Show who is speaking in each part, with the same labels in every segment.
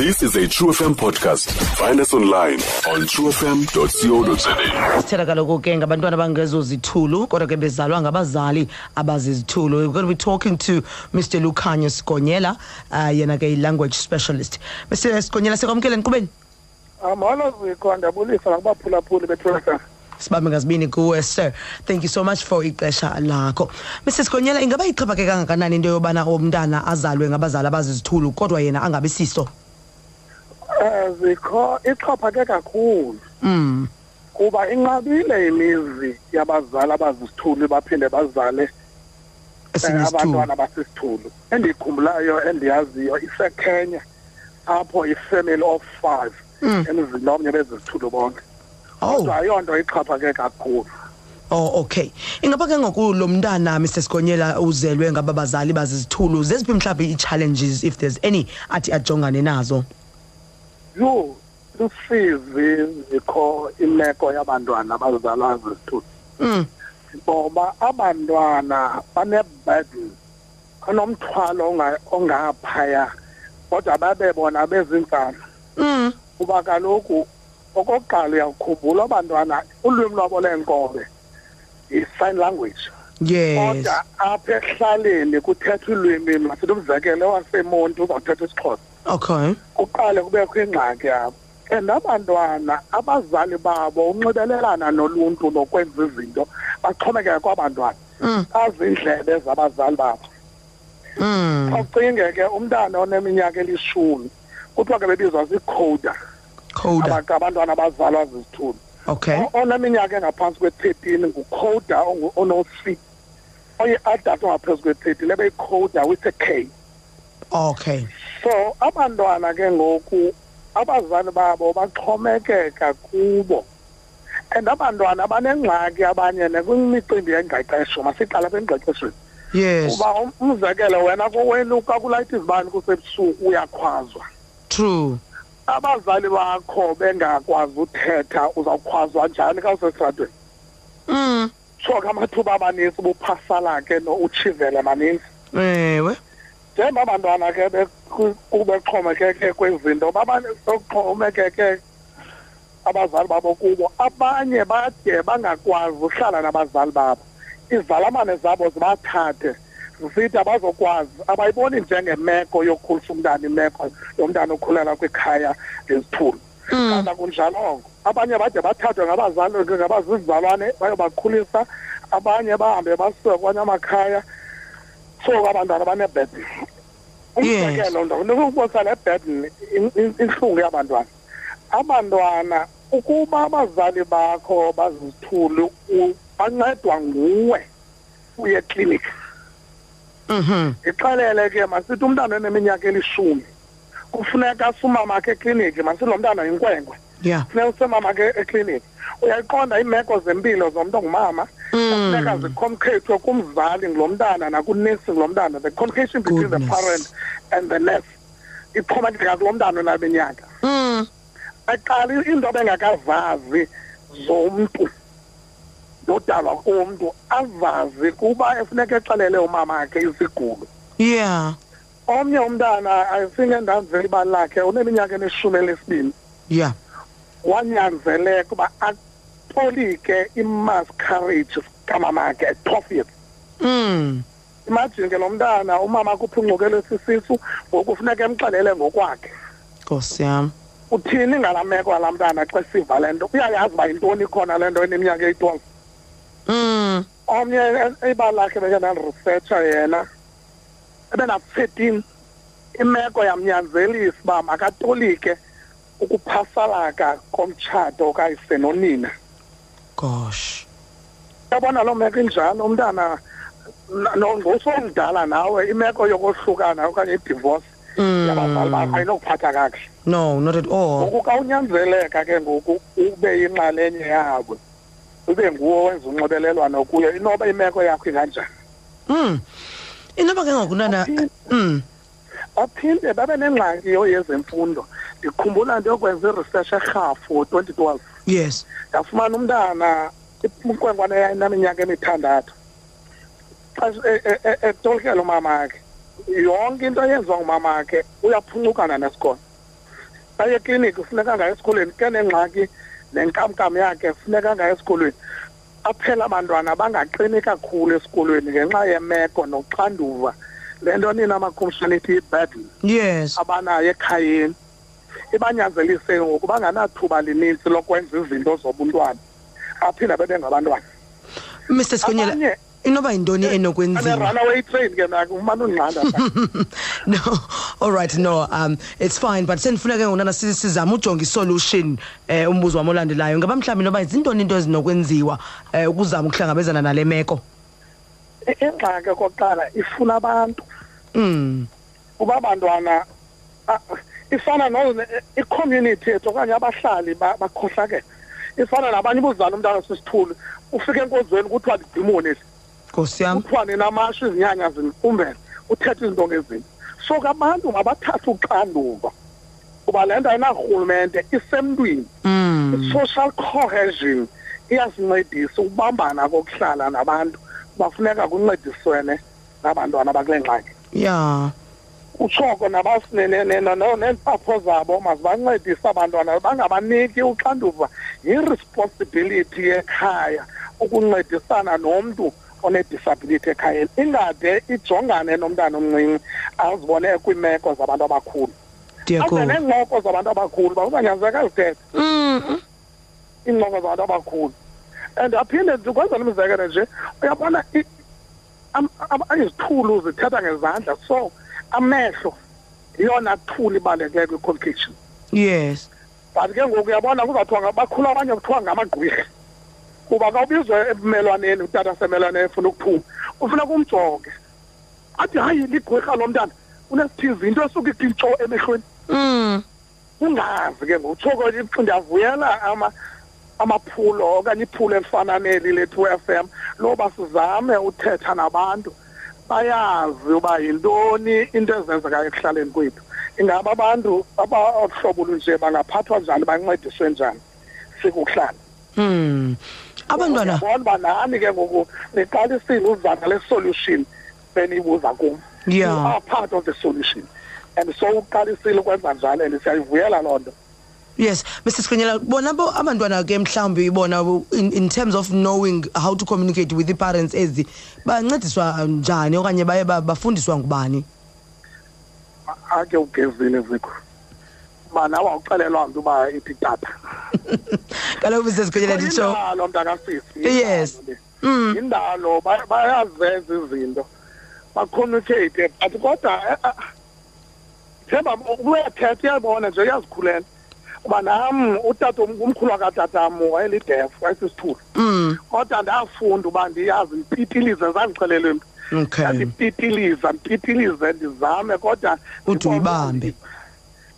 Speaker 1: This is a True FM podcast. Find us online on truefm.co.za.
Speaker 2: sithela kaloku ke ngabantwana abangezozithulu kodwa ke bezalwa ngabazali abazizithulu we're going to be talking to mr lukhanyo sigonyela uh, yena ke i-language specialist mr sigonyela sikwamkele nkqubeni
Speaker 3: Ah, molo Ziko ndabulisa nakubaphulaphuli betresa
Speaker 2: sibambe ngazibini kuwe sir thank you so much for ixesha lakho mr sigonyela ingaba ixhaphake kangakanani into yobana umntana azalwe ngabazali abazizithulu kodwa yena angabi siso
Speaker 3: um zikho ixhaphake kakhulu
Speaker 2: mm.
Speaker 3: kuba inqabile imizi yabazali abazisithulu baphinde bazale eh,
Speaker 2: esinesithulu
Speaker 3: abantwana basisithulu endiyikhumbulayo endiyaziyo isekenya apho ifamily of five emzini omnye bezisithulu bonke
Speaker 2: Mm. oh.
Speaker 3: kodwa ayonto ixhaphake kakhulu
Speaker 2: Oh okay. Ingaba ke ngoku lo mntana Mr Sigonyela uzelwe ngababazali bazizithulu zeziphi mhlawumbe i-challenges if there's any athi ajongane nazo.
Speaker 3: yho lusizi zikho imeko yabantwana abazalwa zisithuthi
Speaker 2: Mm.
Speaker 3: ngoba abantwana baneburden banomthwalo onga- ongaphaya kodwa babe bona bezintsana
Speaker 2: Mm.
Speaker 3: kuba kaloku okokuqala uyakhumbula abantwana ulwimi lwabo leenkobe yi-sign language
Speaker 2: Yes.
Speaker 3: kodwa apha ekuhlaleni kuthethwa ulwimi masithi umzekelo wasemonti uzawuthetha isixhosa
Speaker 2: Okay.
Speaker 3: kuqale kubekho ingxaki yabo and abantwana abazali babo unxibelelana noluntu nokwenza izinto baxhomekeke kwabantwana
Speaker 2: Mm.
Speaker 3: azindlebe zabazali babo
Speaker 2: Mm.
Speaker 3: ucinge ke umntana oneminyaka elishumi kuthiwa ke bebizwa zicoda
Speaker 2: Coda. Eh?
Speaker 3: abantwana abazalwa zizithulu
Speaker 2: Okay.
Speaker 3: O- oneminyaka engaphantsi kwe-thirteen ngucoda ono-c oyi-adult ongaphezu kwe-thirteen lebeyicoda with a k
Speaker 2: Okay.
Speaker 3: so abantwana ke ngoku abazali babo baxhomekeka kubo and abantwana banengxaki abanye nakwimicimbi yengqeqesho masiqala apha engqeqeshweni
Speaker 2: Yes.
Speaker 3: uba um- umzekelo wena kowenu kakulayita izibani kusebusuku uyakhwazwa
Speaker 2: True.
Speaker 3: abazali bakho bengakwazi uthetha uzawukhwazwa njani xa usestratweni
Speaker 2: Mm.
Speaker 3: so ke amathuba amanintsi ubuphasala ke no utshivele maninzi
Speaker 2: Ewe.
Speaker 3: njengoba abantwana ke beku- kubexhomekeke kwizinto babaxhomekeke abazali babo kubo abanye bade bangakwazi uhlala nabazali babo izalamane zabo zibathathe zisithi abazokwazi abayiboni njengemeko yokhulisa umntana imeko yomntana okhulela kwikhaya lezithulu
Speaker 2: Mm.
Speaker 3: kana kunjalongo abanye bade bathathwe ngabazali ngabazizalwane bayobakhulisa abanye bahambe basuke kwanye amakhaya so abantwana banebhedin
Speaker 2: Yes.
Speaker 3: umzekelo nto nokubonisa le bhedin intlungu yabantwana abantwana ukuba abazali bakho bazithuli u- bancedwa nguwe uye eklinikhi
Speaker 2: Mhm.
Speaker 3: ndixelele ke masithi umntana oneminyaka elishumi kufuneka asumamakhe eklinikhi masithi lo mntana yinkwenkwe
Speaker 2: Yeah.
Speaker 3: funeka usemama ke ekliniki uyayiqonda iimeko zempilo zomntu ongumama funeka
Speaker 2: Mm.
Speaker 3: zikhomkhethwe kumzali ngulo mntana nakunesi ngulo mntana the communication between the
Speaker 2: Goodness.
Speaker 3: parent and the nurse ixhomekeka kulo mntana onabeminyaka
Speaker 2: Mm.
Speaker 3: aqala into bengakazazi zomntu nodalwa komntu azazi kuba efuneka exelele umama wakhe isigulo
Speaker 2: Yeah.
Speaker 3: omnye umntana ayisinge ndandivela ibali lakhe uneminyaka elishumi elesibini
Speaker 2: Yeah.
Speaker 3: wanyanzeleka uba atolike imascarage kamamakhe etofit
Speaker 2: Mm.
Speaker 3: imajini ke lo mntana umama kuphuncukelwe sisisu ngoku funeka emxelele ngokwakhe
Speaker 2: Nkosi yami.
Speaker 3: uthini ngalaa meko alaa mntana xa siva le nto uyayazi uba yintoni ikhona le nto eneminyaka eyi-twelve
Speaker 2: Mm.
Speaker 3: omnye e- ibali lakhe beke ndandirisetsha yena ebena-thirteen imeko yamnyanzelisa uba makatolike ukuphasalaka komtshato okayise nonina
Speaker 2: Gosh.
Speaker 3: yabona loo meko injalo umntana ngosomdala nawe imeko yokohlukana okanye idivorce yabazali bakho
Speaker 2: Mm.
Speaker 3: ayinokuphatha kakuhle
Speaker 2: No, not at all.
Speaker 3: ngoku kawunyanzeleka ke ngoku ube yinxalenye yabo ube nguwo wenza unxibelelwano kuyo inoba imeko yakho inganjani
Speaker 2: Mm. Inaba ke ngoku nana mm.
Speaker 3: baphinde babe nengxaki yezemfundo ndikhumbula nto yokwenza iresearch erhafu twenty twelve
Speaker 2: Yes.
Speaker 3: ndafumana umntana inkwenkwana yayinaminyaka emithandathu xa e- e- e- etolikela umamakhe yonke into eyenziwa ngumamakhe uyaphunukana nesikolo xa ekliniki funeka ngayo esikolweni ke nengxaki nenkamnkam yakhe funeka ngayo esikolweni aphela abantwana bangaqini kakhulu esikolweni ngenxa yemeko noxanduva le nto nina amakhumshana ithi yiburden
Speaker 2: yes
Speaker 3: abanayo ekhayeni ibanyanzelise ke ngoku banganathuba linintsi lokwenza izinto zobuntwana aphinda bebe ngabantwana
Speaker 2: mr sikonyela
Speaker 3: Abanye-
Speaker 2: inoba yintoni enokwenziwa
Speaker 3: ane-runaway train ke mna umane undinqanda
Speaker 2: no all right no um it's fine but sendifuna ke ngokunana si- sizame ujonge isolution um umbuzo wam olandelayo ngaba mhlawumbi noba zintoni into ezinokwenziwa um ukuzama ukuhlangabezana nale meko
Speaker 3: I- ingxaki kokuqala E-, ifuna abantu
Speaker 2: um
Speaker 3: uba bantwana ah, ifana no icommunity yethu okanye abahlali ba- bakhohlakele ifana nabanye ubuzana umntana sisithulu ufika enkonzweni kuthiwa ndidimonisi
Speaker 2: nkosi yam
Speaker 3: kuthiwa ninamasho izinyanya zinkumbele uthetha izinto ngezini so ke abantu mabathathe uxanduva kuba le nto ayinarhulumente isemntwini
Speaker 2: um
Speaker 3: social cohesion iyasincedisa ukubambana kokuhlala nabantu bafuneka kuncediswene nabantwana bakule ngxaki
Speaker 2: ya
Speaker 3: utshoko neentsapho zabo mazibancedise abantwana bangabaniki uxanduva yiresponsibility yekhaya ukuncedisana nomntu onedisability ekhayeni ingade ijongane nomntana omncinci azibone kwiimeko zabantu abakhulu aze
Speaker 2: ndiyakova
Speaker 3: neencoko zabantu abakhulu uba uzanyanzeka azithethe
Speaker 2: um
Speaker 3: iincoko zabantu abakhulu and aphinde ndikwenzela umzekelo nje uyabona i- am- am- izithulu zithetha ngezandla so amehlo yiyona thuli ibalulekileyo kwi-communication
Speaker 2: yes
Speaker 3: but ke ngoku uyabona kuzawuthiwa nga- bakhulu abanye kuthiwa ngamagqwirha kuba kawubizwe ebumelwaneni utata semelwane efuna ukuphuma ufuneka umjonge athi hayi ligqwirha lo mntana unesithizi into esuka ikintsho emehlweni
Speaker 2: um
Speaker 3: ungazi ke ngotshoko ndiyavuyela ama amaphulo okanye iphulo elifana neli lethu FM loba sizame uthetha nabantu bayazi uba yintoni into ezenzekayo ekuhlaleni kwethu ingaba abantu abaohlobo lunje bangaphathwa njani bancediswe njani sikuhlala
Speaker 2: um abantwana
Speaker 3: Uyabona uba nani ke ngoku niqalisile uzana le-solution beniyibuza kum
Speaker 2: Yeah.
Speaker 3: you are part of the solution and so uqalisile ukwenza njalo and siyayivuyela loo nto
Speaker 2: yes mr sikonyela bona bo abantwana ke mhlawumbi bona bo- in, in terms of knowing how to communicate with i-parents ezi bancediswa njani okanye baye ba- bafundiswa ngubani
Speaker 3: ake ugezile zikho bana wawuxelelwa mntu uba ithi tata
Speaker 2: kaloku msesikhonyela nditsho
Speaker 3: yindalo mntakasisi
Speaker 2: Yes. Mm.
Speaker 3: yindalo le. yindalo ba- bayazenza izinto bacommunicate but kodwa eh, ah, themba uyathetha uyayibona nje uyazikhulela uba nam utata um-, umkhulu wakatatam wayelidef wayesisithulu
Speaker 2: um
Speaker 3: kodwa ndafunda uba ndiyazi ndipitilize zandixelelwe mntu
Speaker 2: okay
Speaker 3: ndipitiliza ndipitilize ndizame kodwa
Speaker 2: Ude uyibambe.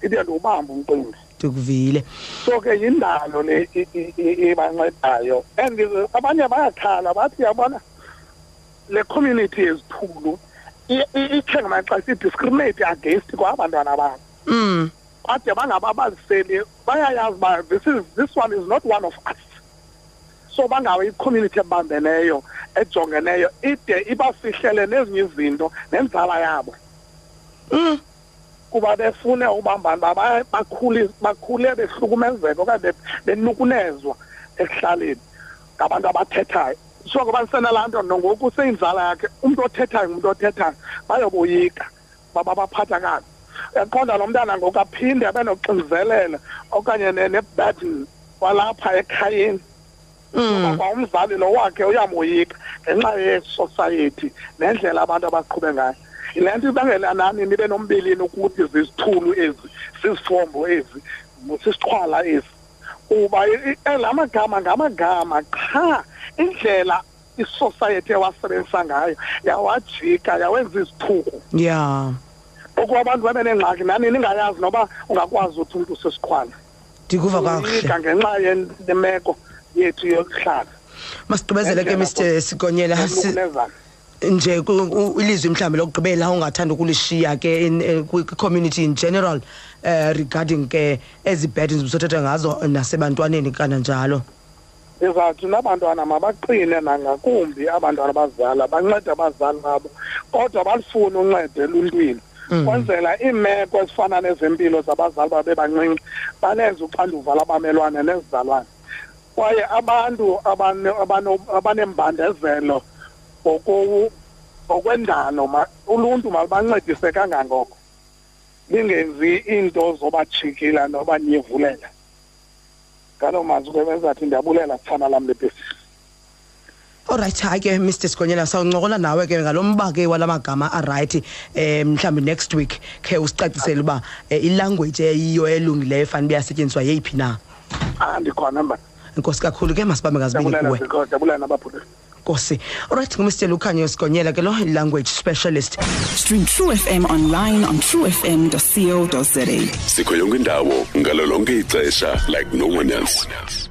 Speaker 3: ide ndiwubambe umqimbi
Speaker 2: ndikuvile
Speaker 3: so ke yindalo le i- i- i- ibancedayo and eh, abanye bayakhala bathi yabona le community yezithulu i- i- ithe ngamaxesha idiscriminate against kwabantwana babo
Speaker 2: um
Speaker 3: bade bangababaliseli bayayazi uba eh, this, is, this one is not one of us so bangawe icommunity ebambeneyo ejongeneyo ide ibafihlele nezinye izinto nenzala yabo
Speaker 2: Mm.
Speaker 3: kuba befune ubambani baba bakhuli- bakhule behlukumezeka okanye be- benukunezwa ekuhlaleni ngabantu abathethayo so ngoba ndisenalaa nto nongoku seyinzala yakhe umntu othethayo ngumntu othethayo bayoboyika baba baphatha kabi yaqonda lo mntana ngoku aphinde abe noxinzelelo okanye ne- ne-burden kwalapha ekhayeni
Speaker 2: um
Speaker 3: ngoba umzali lo wakhe uyamoyika ngenxa yesociety nendlela abantu abaqhube ngayo yile nto ibangela nani nibe nombilini ukuthi zizithulu ezi zizifombo ezi sisiqhwala ezi kuba i- i- la magama ngamagama qha indlela isociety ewasebenzisa ngayo yawajika yawenza izithuku
Speaker 2: ya
Speaker 3: oku abantu babe nengxaki nani ningayazi noba ungakwazi ukuthi umntu usesiqhwala
Speaker 2: ndikuva Oh, kakuhle
Speaker 3: Uyoyika ngenxa yen- nemeko yethu yokuhlala
Speaker 2: masigqibezele ke mr sikonyela si-
Speaker 3: Nokunezayo.
Speaker 2: nje ku- u- ilizwi mhlawumbi lokugqibela ongathanda ukulishiya ke in- eh, kwi- kwi-community in general um regarding ke ezi burdens busothethwa ngazo nasebantwaneni kananjalo
Speaker 3: ndizawuthi nabantwana mabaqine nangakumbi abantwana abazala bancede abazali babo kodwa balifune uncedo eluntwini kwenzela iimeko ezifana nezempilo zabazali babebancinci balenze uxanduva labamelwane nezizalwane kwaye abantu abane- abano- abanembandezelo ngoku- ngokwendalo ma- uluntu malubancedise kangangoko lingenzi iinto zobatshikila nobanyevulela ngaloo mazwi ke benzathi ndiyabulela kufana lam lebhesisi
Speaker 2: olrayithi hayi ke mr sigonyela sawuncokola nawe ke ngalo mba ke wala magama arayithi um mhlawumbi next week khe usicacisele uba um ilanguage eyiyo elungileyo fanele uba iyasetyenziswa yeyiphi na
Speaker 3: Ah, andikhona mba
Speaker 2: enkosi kakhulu ke masibambe ngazibini
Speaker 3: ndiyabulela
Speaker 2: kuwe
Speaker 3: zikho ndiyabulela nabaphuleli
Speaker 2: nkosi olrayithi ngumr lukhanyo sigonyela ke lo language specialist
Speaker 4: Stream True FM online on truefm.co.za.
Speaker 1: sikho yonke indawo ngalo lonke ixesha like no one else